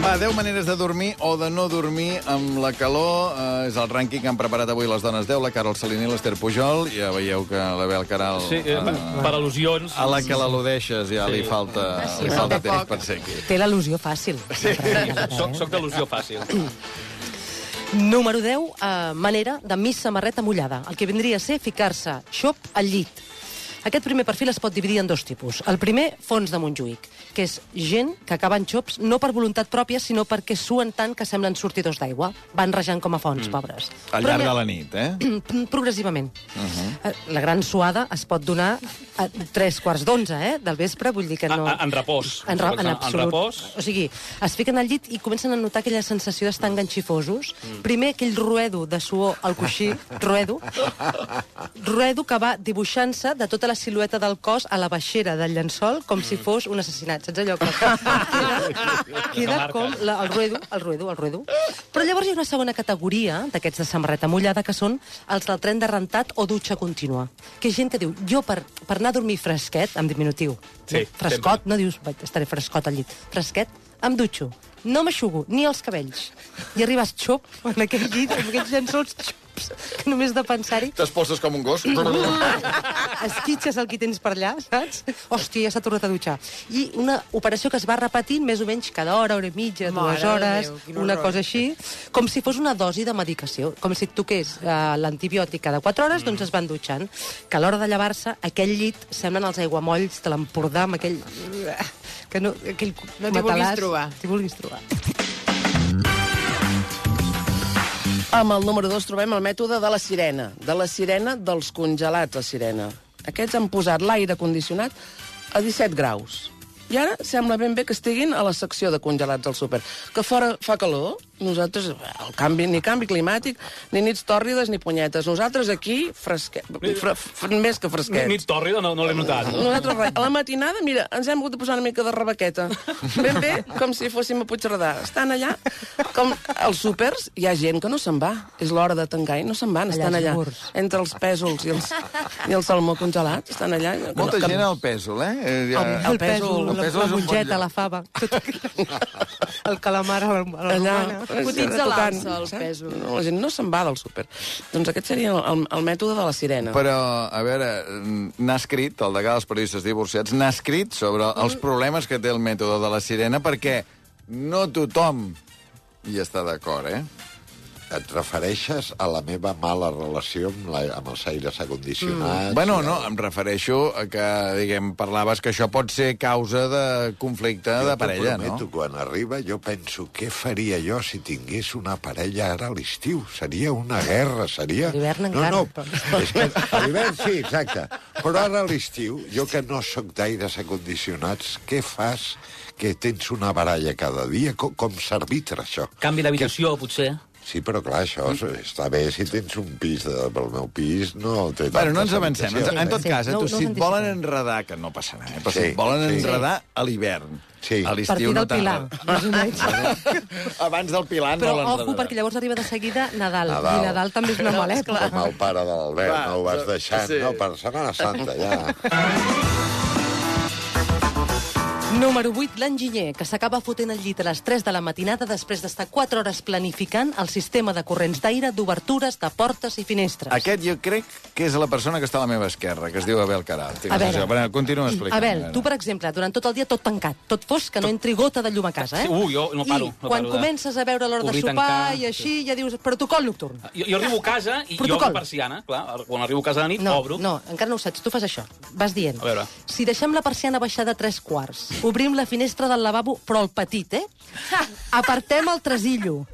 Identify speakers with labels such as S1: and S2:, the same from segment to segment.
S1: Va, 10 maneres de dormir o de no dormir amb la calor. Eh, és el rànquing que han preparat avui les dones 10, la Carol Saliní i l'Ester Pujol. Ja veieu que la Bel Caral...
S2: Sí, eh,
S1: eh,
S2: per al·lusions.
S1: a la que l'al·ludeixes ja li falta,
S3: Sí,
S1: li
S3: falta
S1: falta temps
S3: poc.
S1: per ser aquí.
S3: Té l'al·lusió fàcil. Sí.
S2: Soc, soc d'al·lusió fàcil.
S3: eh? Número 10, eh, manera de missa samarreta mullada. El que vindria a ser ficar-se xop al llit. Aquest primer perfil es pot dividir en dos tipus. El primer, fons de Montjuïc, que és gent que acaba en xops no per voluntat pròpia, sinó perquè suen tant que semblen sortidors d'aigua. Van rejant com a fons, mm. pobres.
S1: Al
S3: Però
S1: llarg
S3: n'hi ha-
S1: de la nit, eh?
S3: Mm, progressivament. Uh -huh. La gran suada es pot donar a tres quarts d'onze, eh? Del vespre, vull dir que no...
S2: A- a- en repòs.
S3: En, re en
S2: En
S3: absolut.
S2: repòs.
S3: O sigui, es fiquen al llit i comencen a notar aquella sensació d'estar enganxifosos. Mm. Primer, aquell ruedo de suor al coixí, ruedo, ruedo que va dibuixant-se de tota la silueta del cos a la baixera del llençol com
S2: Mm.
S3: si fos un assassinat. Saps allò que... queda, queda
S2: marca.
S3: com la, el ruedo, el ruedo, el ruedo. Però llavors hi ha una segona categoria d'aquests de samarreta mullada que són els del tren de rentat o dutxa contínua. Que és gent que diu, jo per, per anar a dormir fresquet, amb diminutiu,
S2: Sí,
S3: frescot, no dius, "Vaig, estaré frescot al llit, fresquet, em dutxo, no m'aixugo, ni els cabells. I arribes xop en aquell llit, amb aquests llençols xops, que només de pensar-hi
S1: T'es poses com un gos.
S3: esquitxes el que tens per allà, saps? Hòstia, ja s'ha tornat a dutxar. I una operació que es va repetint més o menys cada hora, hora i mitja,
S4: Mare
S3: dues
S4: de
S3: hores,
S4: Déu, quin
S3: una
S4: horror.
S3: cosa així, com si fos una dosi de medicació, com si et toqués eh, l'antibiòtic cada quatre hores,
S4: Mm.
S3: doncs es van dutxant. Que a l'hora de llevar-se, aquell llit semblen els aiguamolls de l'Empordà amb aquell... Que no, aquell
S4: No t'hi vulguis
S3: matalàs.
S4: trobar.
S3: T'hi vulguis trobar.
S5: Amb el número 2 trobem el mètode de la sirena, de la sirena dels congelats a sirena. Aquests han posat l'aire condicionat a 17 graus. I ara sembla ben bé que estiguin a la secció de congelats del súper. Que fora fa calor, nosaltres, el canvi, ni canvi climàtic, ni nits tòrrides, ni punyetes. Nosaltres aquí, fresquet, fre, fre, més que
S2: Ni,
S5: fresquets.
S2: ni tòrrida, no, no l'he notat.
S5: Nosaltres res. A la matinada, mira, ens hem hagut de posar una mica de rebequeta. Ben bé, com si fóssim a Puigcerdà. Estan allà, com als súpers, hi ha gent que no se'n va. És l'hora de tancar i no se'n van,
S3: Allà
S5: estan
S3: als
S5: allà.
S3: murs.
S5: Entre els pèsols i, els, i el salmó congelat, estan allà.
S1: Molta
S5: Que-
S1: gent al pèsol, eh? eh? ja-
S3: El, el, pèsol,
S1: el
S3: la,
S1: pèsol
S3: la
S1: és un bon
S3: mongeta,
S1: lloc.
S3: la fava, tot el calamar a la, a la
S5: Allà,
S3: romana.
S4: Cotitza
S5: tocant,
S4: l'alça, el
S5: saps?
S4: pèsol.
S5: No, la gent no se'n va del súper. Doncs aquest seria el, el, el mètode de la sirena.
S1: Però, a veure, n'ha escrit, el degà dels periodistes divorciats, n'ha escrit sobre els
S3: Mm.
S1: problemes que té el mètode de la sirena, perquè no tothom hi està d'acord, eh?
S6: Et refereixes a la meva mala relació amb, la, amb els aires acondicionats? Mm.
S1: Bueno, no, em refereixo a que, diguem, parlaves que això pot ser causa de conflicte de parella,
S6: prometo,
S1: no?
S6: quan arriba jo penso què faria jo si tingués una parella ara a l'estiu. Seria una guerra, seria...
S3: A l'hivern
S6: no,
S3: encara,
S6: no,
S3: però-
S6: és que a l'hivern sí, exacte. Però ara a l'estiu, jo que no sóc d'aires acondicionats, què fas que tens una baralla cada dia? Com, com s'arbitra això?
S2: Canvi d'habitació, potser.
S6: Sí, però clar, això mm. està bé si tens un pis de, pel meu pis, no té
S1: Bueno, no
S6: tantes
S1: ens avancem.
S6: habitacions,
S1: En tot
S3: Sí,
S1: cas, eh,
S3: no-
S1: tu,
S3: no us
S1: si et
S3: anticipem.
S1: volen enredar, que no passarà, eh? però si
S6: Sí,
S1: et volen
S6: sí.
S1: enredar a l'hivern,
S6: Sí.
S1: a
S3: Partir
S1: l'estiu
S3: del
S1: no tant.
S3: Pilar, més o menys.
S1: Abans del Pilar no
S3: Però
S1: l'enredarà.
S3: ojo, perquè llavors arriba de seguida Nadal.
S2: Ah,
S6: Nadal.
S3: I Nadal també és una maleta.
S4: Ah.
S6: Com el pare de l'Albert, no ho
S4: eh,
S6: vas deixant,
S1: sí.
S6: sí. no? Per Setmana Santa, ja.
S3: Número 8, l'enginyer, que s'acaba fotent al llit a les 3 de la matinada després d'estar 4 hores planificant el sistema de corrents d'aire, d'obertures, de portes i finestres.
S1: Aquest jo crec que és la persona que està a la meva esquerra, que es diu Abel Caral. Tinc
S3: A
S1: la
S3: veure.
S1: sensació. Bueno, continua explicant.
S3: Mm, Abel, tu, per exemple, durant tot el dia tot tancat, tot fosc, que no entri gota de llum a casa, eh?
S2: Sí, ui, jo no paro,
S3: I
S2: no
S3: quan
S2: paro de-
S3: comences a veure l'hora de
S2: Obrir,
S3: sopar
S2: tancar,
S3: i així, ja dius, protocol nocturn.
S2: Jo, jo arribo a casa i Protocol. jo
S3: Protocol.
S2: obro persiana, clar. Quan arribo a casa de nit,
S3: no,
S2: obro.
S3: No, encara no ho saps. Tu fas això. Vas dient.
S2: A veure.
S3: Si deixem la persiana baixada a tres quarts, obrim la finestra del lavabo, però el petit, eh? Apartem el tresillo.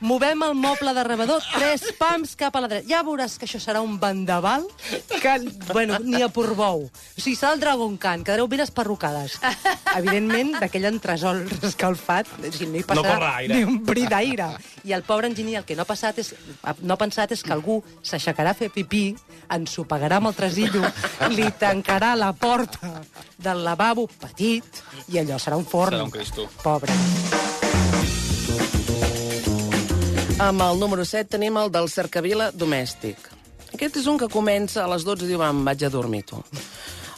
S3: Movem el moble de rebedor tres pams cap a la dreta. Ja veuràs que això serà un bandaval que, bueno, ni a porbou. O sigui, serà el Dragon Khan, quedareu ben esparrucades. Evidentment, d'aquell entresol escalfat, o sigui, no hi
S2: No
S3: passarà
S2: corre aire.
S3: ni un bri d'aire. I el pobre enginyer el que no ha, passat és, no ha pensat és que algú s'aixecarà a fer pipí, ensopegarà amb el tresillo, li tancarà la porta del lavabo petit i allò serà un forn.
S2: Serà un cristo.
S3: Pobre.
S5: Amb el número 7 tenim el del cercavila domèstic. Aquest és un que comença a les 12 i diu, va, em vaig a dormir, tu.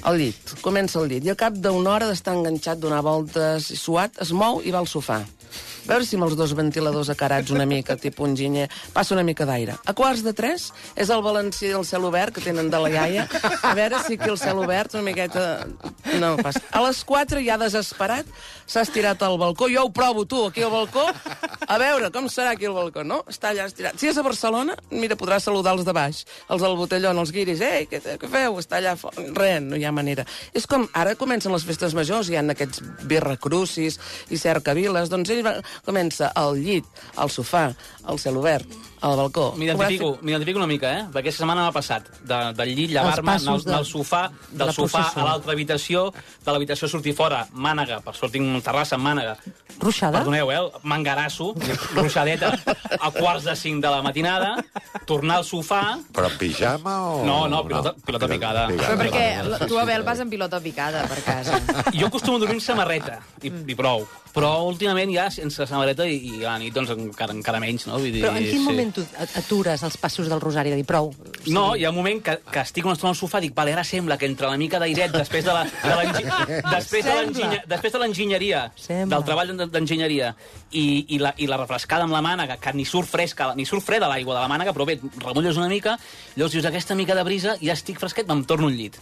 S5: Al llit, comença al llit. I al cap d'una hora d'estar enganxat, donar voltes i suat, es mou i va al sofà. A veure si amb els dos ventiladors acarats una mica, tipus un ginyer, passa una mica d'aire. A quarts de tres és el valencí del cel obert que tenen de la iaia. A veure si aquí el cel obert una miqueta... No passa. A les quatre ja desesperat s'ha estirat al balcó. Jo ho provo, tu, aquí al balcó. A veure, com serà aquí al balcó, no? Està allà estirat. Si és a Barcelona, mira, podrà saludar els de baix, els del botellón, els guiris. Ei, què, què feu? Està allà fo- Res, no hi ha manera. És com, ara comencen les festes majors, hi han aquests birracrucis i cercaviles, doncs ell va, comença al llit, al sofà, al cel obert, al balcó.
S2: M'identifico m'identifico una mica, eh? Perquè aquesta setmana m'ha passat de, del llit, llevar-me,
S3: passos
S2: anar al-
S3: de-
S2: anar al sofà,
S3: de
S2: del
S3: la
S2: sofà
S3: processó.
S2: a l'altra habitació, de l'habitació sortir fora, mànega, per sortir en terrassa amb mànega.
S3: Ruixada?
S2: Perdoneu, eh? Mangarasso, ruixadeta, a quarts de cinc de la matinada, tornar al sofà...
S6: Però en pijama o...
S2: No, no, pilota- pilota picada.
S4: Però perquè la- tu, Abel, vas amb pilota picada per casa.
S2: Jo acostumo a dormir amb samarreta, i,
S3: Mm.
S2: i prou. Però últimament ja sense samarreta i, i a la nit doncs encara, encara menys, no? Vull dir,
S3: Però en quin moment tu a- atures els passos del Rosari de dir prou?
S2: No, hi ha un moment que, que estic una estona al sofà, dic, vale, ara sembla que entre la mica d'airet, després de la- de l'engi- després de l'enginye- després de l'enginyeria, de
S3: Sembla.
S2: del treball d'en- d'enginyeria, i, i, la, i la refrescada amb la mànega, que ni surt fresca, ni surt freda l'aigua de la mànega, però bé, remulles una mica, llavors dius, aquesta mica de brisa, ja estic fresquet, me'n torno al llit.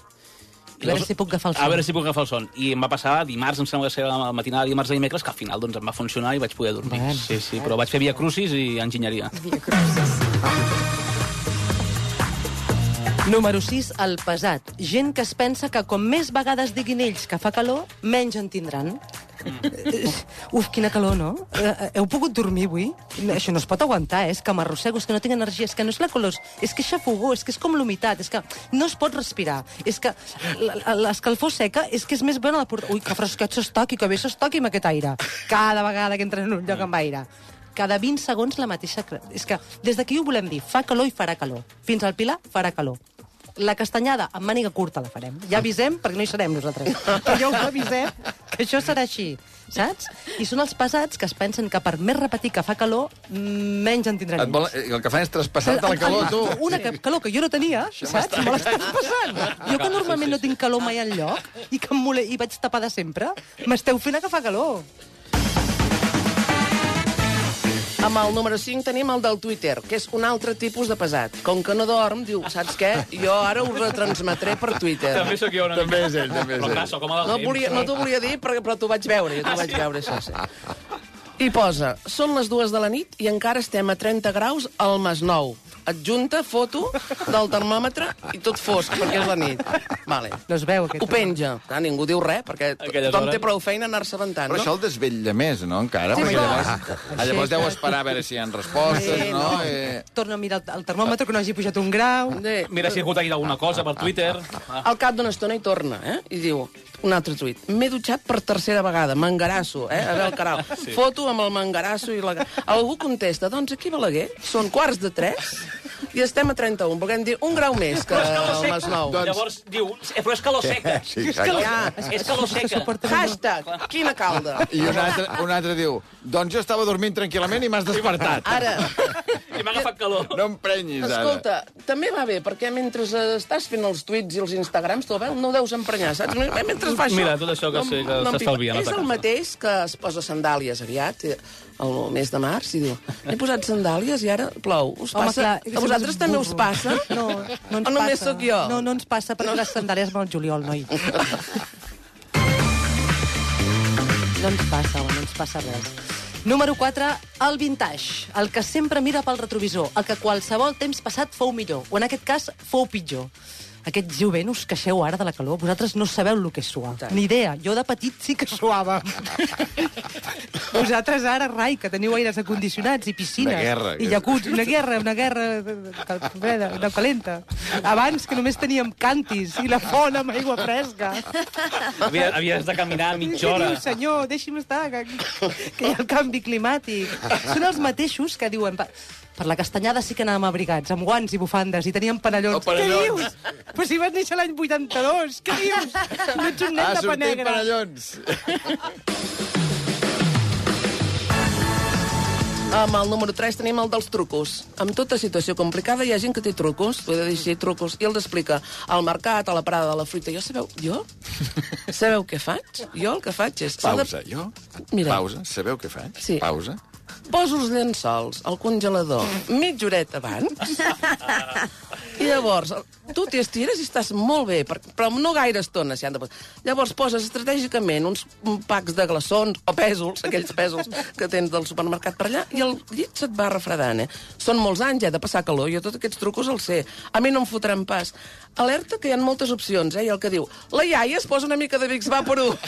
S3: A veure si puc agafar el
S2: A
S3: son.
S2: veure si puc agafar el son. I em va passar dimarts, em sembla que serà la matinada de dimarts a dimecres, que al final doncs, em va funcionar i vaig poder dormir.
S3: Bueno.
S2: sí, sí, però vaig fer via crucis i enginyeria.
S3: Número 6, el pesat. Gent que es pensa que com més vegades diguin ells que fa calor, menys en tindran. Eh, Uf, quina calor, no? Eh, eh, Heu pogut dormir avui? No, Això no es pot aguantar, eh? és que m'arrossego, és que no tinc energia, és que no és la calor, és que xafogó, és que és com l'humitat, és que no es pot respirar, és que l- l- l'escalfor seca és que és més bona la porta... Ui, que fresquet s'estoqui, que bé s'estoqui amb aquest aire. Cada vegada que entres en un lloc amb aire. Cada 20 segons la mateixa... cre- És que des d'aquí ho volem dir, fa calor i farà calor. Fins al Pilar farà calor. La castanyada amb màniga curta la farem. Ja avisem, perquè no hi serem nosaltres. Però ja us avisem que això serà així, saps? I són els pesats que es pensen que per més repetir que fa calor, mm, menys en tindran
S1: Et vol, el que fan és traspassar-te la calor, tu.
S3: Una que, calor que jo no tenia, saps? Me l'estàs passant. Jo que normalment no tinc calor mai enlloc i que em mole, i vaig tapada sempre, m'esteu fent agafar calor.
S5: Amb el número 5 tenim el del Twitter, que és un altre tipus de pesat. Com que no dorm, diu, saps què? Jo ara ho retransmetré per Twitter.
S2: També sóc jo una mica.
S1: També és ell, també és
S2: Però clar,
S1: ell.
S2: sóc home del
S5: No,
S2: temps.
S5: volia, no t'ho volia dir, però, però t'ho vaig veure, jo t'ho vaig veure, això, sí. I posa, són les dues de la nit i encara estem a 30 graus al Masnou. Adjunta foto del termòmetre i tot fosc, perquè és la nit. Vale.
S3: No es veu, aquest
S5: Ho penja. Ah, ningú diu res, perquè to-
S2: Aquelles
S5: tothom
S2: hores.
S5: té prou feina a anar-se aventant,
S1: Però
S5: no?
S1: això el desvetlla més, no, encara? Sí, perquè llavors, ah, llavors deu esperar a veure si hi ha respostes,
S5: Sí,
S1: no?
S5: no.
S1: Eh,
S3: Torna a mirar el- el termòmetre, que no hagi pujat un grau.
S5: Sí.
S2: Mira, ha circulat ahir alguna cosa per Twitter. Ah,
S5: Al cap d'una estona hi torna, eh? I diu, un altre tuit, m'he dutxat per tercera vegada, mangarasso, eh? A veure, caral, sí. foto amb el mangarasso i la... Algú contesta, doncs aquí a Balaguer són quarts de 3 i estem a 31, volguem dir un grau més que el Masnou.
S2: Doncs... Llavors diu, eh, però és calor seca.
S6: Sí, exacte.
S5: Ja.
S2: És calor seca.
S5: Hashtag, quina calda.
S1: I un altre, un altre diu, doncs jo estava dormint tranquil·lament i m'has despertat.
S5: Ara,
S2: I m'ha agafat calor.
S1: No em prenyis, ara.
S5: escolta, també va bé, perquè mentre eh, estàs fent els tuits i els instagrams, tu Abel, no ho deus emprenyar, saps? No- Mentre fa això...
S2: Mira, tot això que
S5: em-
S2: sé que
S5: em pica.
S2: s'estalvien a
S5: És
S2: ta
S5: el
S2: casa.
S5: mateix que es posa sandàlies aviat, eh, el mes de març, i diu, he posat sandàlies i ara plou. Us
S3: Home,
S5: passa?
S3: clar,
S5: a vosaltres
S3: és
S5: també
S3: burro.
S5: us passa?
S3: No, no ens
S5: o només
S3: passa.
S5: sóc jo?
S3: No, no ens passa, perquè les sandàlies van al juliol, noi. no ens passa, home, no ens passa res. Número 4, el vintage, el que sempre mira pel retrovisor, el que qualsevol temps passat fou millor, o en aquest cas fou pitjor. Aquest jovent us queixeu ara de la calor, vosaltres no sabeu el que és suar.
S5: Exacte.
S3: Ni idea, jo de petit sí que suava. vosaltres ara, rai, que teniu aires acondicionats i piscines.
S1: Una guerra,
S3: I
S1: que-
S3: llacuts, una guerra, una guerra de- de- cal- freda, no calenta. Abans que només teníem cantis i la font amb aigua fresca.
S2: Havia, havies de caminar mitja hora.
S3: Què diu, senyor? Deixi'm estar, que, que hi ha el canvi climàtic. Són els mateixos que diuen... "Va, Per la castanyada sí que anàvem abrigats, amb guants i bufandes, i teníem
S1: Oh,
S3: panellons.
S1: panellons.
S3: Què dius? Però si vas néixer l'any 82, què dius? No ets un nen
S1: Ha
S3: de
S1: sortit
S3: panegra.
S1: per allons.
S5: Amb el número 3 tenim el dels trucos. Amb tota situació complicada hi ha gent que té trucos, t'ho he de dir així, trucos, i els explica al mercat, a la parada de la fruita. Jo sabeu, jo? sabeu què faig? Jo el que faig és...
S1: Pausa, jo?
S5: Mira.
S1: Pausa. Sabeu què faig?
S5: Sí.
S1: Pausa.
S5: Poso els llençols al congelador mitja horeta abans i llavors tu t'hi estires i estàs molt bé, per- però no gaire estona s'hi han de posar. Llavors poses estratègicament uns packs de glaçons o pèsols, aquells pèsols que tens del supermercat per allà, i el llit se't va refredant, eh? Són molts anys, ja, de passar calor, jo tots aquests trucos els sé. A mi no em fotran pas. Alerta que hi ha moltes opcions, eh? I el que diu, la iaia es posa una mica de Vicks Vaporub.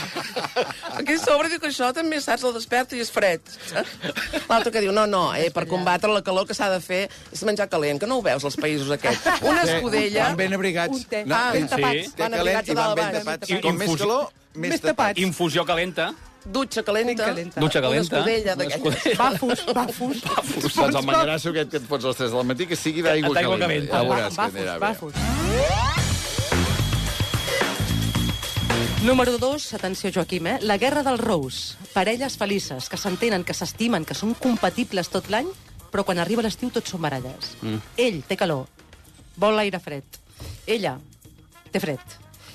S5: Aquí a sobre diu que això també, saps, el desperta i és fred. saps? L'altre que diu, no, no, eh, per combatre la calor que s'ha de fer és menjar calent, que no ho veus als països aquests. Una escudella...
S1: Van ben abrigats.
S7: Un té.
S5: Ah, ben
S2: tapats.
S1: Té
S5: Van
S1: calent
S5: abrigats
S1: i
S5: a
S1: van
S5: dalt
S1: ben
S5: baix.
S1: tapats.
S2: I
S1: I com més
S2: infusi-
S1: calor, més,
S7: Més
S1: tapat.
S7: tapat.
S2: Infusió calenta,
S5: Dutxa calenta.
S7: Calenta.
S2: dutxa
S5: Una
S2: calenta...
S5: escudella d'aquelles.
S2: escudella.
S7: Bafos, bafos.
S1: Saps el manyarasso aquest que et fots a les 3 del matí, que sigui d'aigua
S2: D'aigua
S1: calenta. Ja
S2: calenta. Va-
S1: veuràs que
S7: Bafos,
S1: anirà bé.
S7: bafos.
S3: Número 2, atenció, Joaquim, eh? La guerra dels rous. Parelles felices que s'entenen, que s'estimen, que són compatibles tot l'any, però quan arriba l'estiu tots són baralles. Mm. Ell té calor, vol l'aire fred. Ella té fred.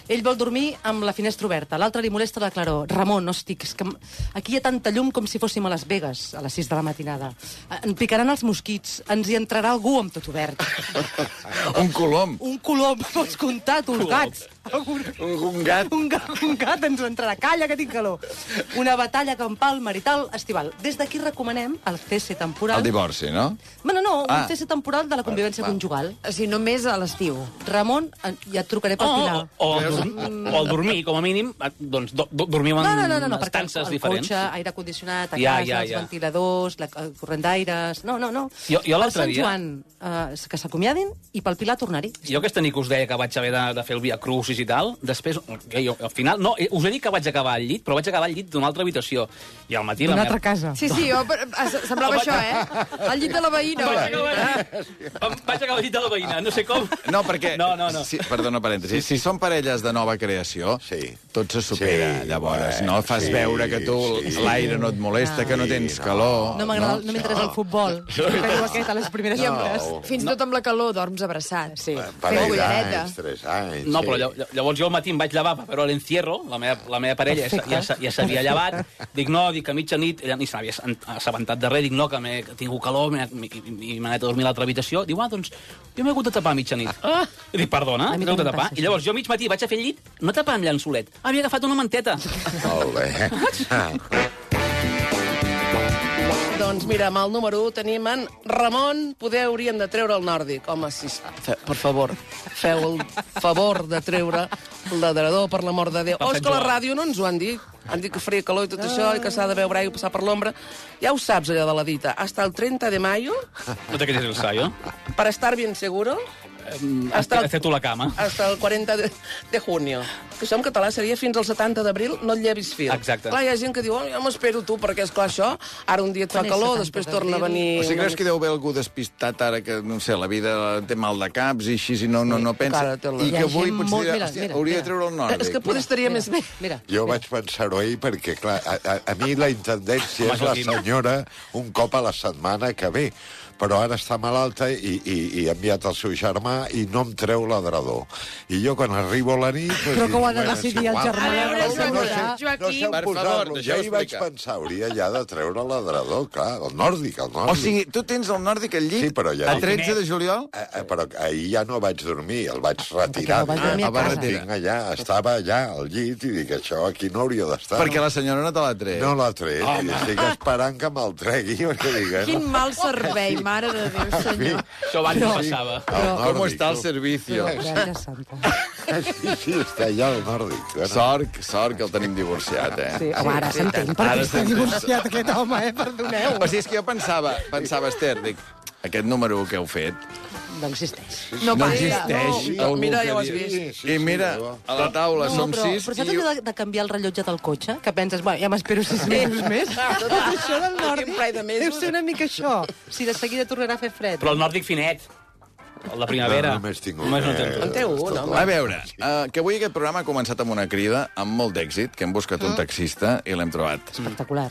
S3: Ell vol dormir amb la finestra oberta. L'altre li molesta la claror. Ramon, no estic... És que m- aquí hi ha tanta llum com si fóssim a Las Vegas a les 6 de la matinada. Eh, En picaran els mosquits. Ens hi entrarà algú amb tot obert.
S1: Un colom.
S3: Un colom, pots comptar, tu, els gats. Algun...
S1: Un gat.
S3: Un gat, un gat ens entrarà. Calla, que tinc calor. Una batalla campal, marital, estival. Des d'aquí recomanem el cese temporal...
S1: El divorci, no?
S3: Bueno, no, un
S1: Ah.
S3: cese temporal de la convivència
S1: Va, va.
S3: conjugal.
S4: O sigui, només a l'estiu.
S3: Ramon, en- ja et trucaré
S2: Oh,
S3: per dinar.
S2: O, o, o, dorm- o el dormir, com a mínim, eh, doncs do, do, dormiu en
S3: No, no, no, no, no perquè el,
S2: estances
S3: el
S2: diferents.
S3: cotxe, aire condicionat, a
S2: Ja,
S3: casa,
S2: ja,
S3: els
S2: ja.
S3: ventiladors, la, el corrent d'aires... No, no, no.
S2: Jo- jo l'altre
S3: Per Sant
S2: dia-
S3: Joan, eh, que s'acomiadin i pel Pilar tornar-hi.
S2: Jo aquesta nit que us deia que vaig haver de, de fer el Via Crucis i tal, després, jo, jo, al final, no, eh, us he dit que vaig acabar al llit, però vaig acabar al llit d'una altra habitació. I al matí... la
S7: Una
S2: meva-
S7: altra casa.
S4: Sí, sí, jo, per- es- semblava això, eh? Al llit de la veïna.
S2: Vaig acabar, al llit- em vaig acabar al llit de la veïna, no sé com.
S1: No, perquè...
S2: No, no, no.
S1: Si, perdona, parèntesi. Si són parelles de nova creació,
S6: Sí.
S1: tot se supera,
S6: Sí,
S1: llavores.
S6: bueno,
S1: No fas
S6: sí,
S1: veure que tu
S6: sí.
S1: l'aire no et molesta, que no
S6: Sí,
S1: tens
S6: no.
S1: calor.
S3: No m'agrada, no, m'interessa
S1: Oh.
S3: el futbol. Però aquest a les primeres
S4: I
S3: hores.
S4: amb, fins i tot amb la calor dorms abraçat. Sí. Fent
S6: Parell
S4: cuidareta.
S6: d'anys, eh, tres anys...
S2: No,
S6: sí.
S2: però llav- llavors jo al matí em vaig llevar per veure l'encierro, la meva, la meva parella ja, s- ja, s- ja s'havia llevat, dic no, dic que a mitjanit, ella ni s'havia assent- assabentat de res, dic no, que m'he que he tingut calor m'he- m'he- i m'he anat a dormir a l'altra habitació, diu, ah, doncs jo m'he hagut de tapar a mitjanit. Ah. I dic, perdona,
S3: A mi
S2: m'he hagut de
S3: també em
S2: tapar.
S3: passa,
S2: I llavors jo a mig matí vaig a fer el llit, no tapar amb llençolet, Ah, havia agafat una manteta.
S6: Molt bé.
S5: Doncs mira, amb el número 1 tenim en Ramon. Poder hauríem de treure el nòrdic. Home, si... Fe, per favor, feu el favor de treure el ladrador, per l'amor de Déu.
S2: Per
S5: Oh,
S2: Sant
S5: és que a la
S2: Joan.
S5: ràdio no ens ho han dit. Han dit que faria calor i tot això, i que s'ha de beure aigua i passar per l'ombra. Ja ho saps, allò de la dita. Hasta el 30 de mayo,
S2: No te quedes el saio.
S5: per estar bien seguro,
S2: Hasta,
S5: Hasta-
S2: hasta tu la cama.
S5: hasta el 40 de, de junio. Que això en català seria fins al 70 d'abril, no et llevis fil.
S2: Exacte.
S5: Clar, hi ha gent que diu, oh, jo m'espero tu, perquè, és clar això, ara un dia et fa
S3: Quan és
S5: calor,
S3: 70
S5: després torna a
S3: d'abril?
S5: venir...
S1: O sigui,
S5: una
S1: creus que hi deu haver algú despistat ara que, no sé, la vida té mal de caps i així, i no, no, no pensa...
S5: encara té la-
S1: I
S5: Hi
S1: que
S3: ha
S1: avui
S3: gent
S1: potser
S3: molt-
S1: dirà,
S3: mira,
S1: hòstia,
S3: mira,
S1: hauria de
S3: mira.
S1: treure el nòrdic.
S5: És que poder estaria més bé.
S3: Mira,
S6: Jo vaig pensar-ho ahir perquè, clar, a, a, a mi la intendència
S2: Home,
S6: és la
S2: Joaquim.
S6: senyora un cop a la setmana que ve, però ara està malalta i, i, i ha enviat el seu germà i no em treu l'adrador. I jo quan arribo a la nit... Doncs,
S7: Crec que ho ha de
S6: bueno,
S7: decidir
S6: és
S7: el
S6: igual.
S7: germà,
S4: A veure,
S6: No sé,
S4: Joaquim,
S6: No
S4: Joaquim.
S6: sé
S1: Per
S6: on
S1: favor,
S6: posar-lo.
S1: deixeu
S6: Ja hi vaig
S1: explicar.
S6: pensar, hauria ja de treure l'adrador, clar, el nòrdic, el nòrdic.
S1: O sigui, tu tens el nòrdic al llit
S6: Sí, però ja
S1: a
S6: dic-
S1: 13 de juliol?
S6: Eh, eh, però ahir ja no vaig dormir, el vaig retirar.
S3: vas dormir a
S6: el vaig
S1: casa.
S6: tinc allà, estava allà al llit i dic, això aquí no hauria d'estar.
S1: Perquè la senyora no te l'ha tret.
S6: No l'ha tret. Home. Estic esperant que me'l tregui. Perquè diguem,
S4: Quin mal servei, mare de Déu, senyor.
S2: Això abans no passava.
S1: Com està el servicio?
S3: Gràcies, Santa.
S6: Sí, sí, està allà al nòrdic. eh? Bueno,
S1: Sort, sort que el tenim divorciat, eh?
S7: Sí, home, ara s'entén per què
S1: Ara
S7: està
S1: s'entén.
S7: divorciat aquest home, eh? Perdoneu.
S1: O sigui, és que jo pensava, pensava, Esther, dic, aquest número que heu fet
S3: No existeix.
S1: no,
S4: passa.
S1: existeix.
S5: no,
S1: algú
S5: mira,
S1: que
S5: ja ho has
S1: digui-
S5: vist.
S6: Sí, sí,
S1: I mira,
S6: sí, ja
S1: a la taula som
S3: però,
S1: sis...
S3: Però saps
S1: i...
S3: allò de, de canviar el rellotge del cotxe? Que penses, bueno, ja m'espero sis mesos més. Tot això del
S5: Aquí un parell
S3: nòrdic
S5: de mesos.
S3: deu ser una mica això. Si de seguida tornarà a fer fred.
S2: Però el nòrdic finet, el de primavera.
S6: No, només tinc un,
S2: Només no
S6: eh?
S2: tens
S5: En té un, home.
S1: A veure, uh, que avui aquest programa ha començat amb una crida amb molt d'èxit, que hem buscat un taxista i l'hem trobat.
S3: Espectacular.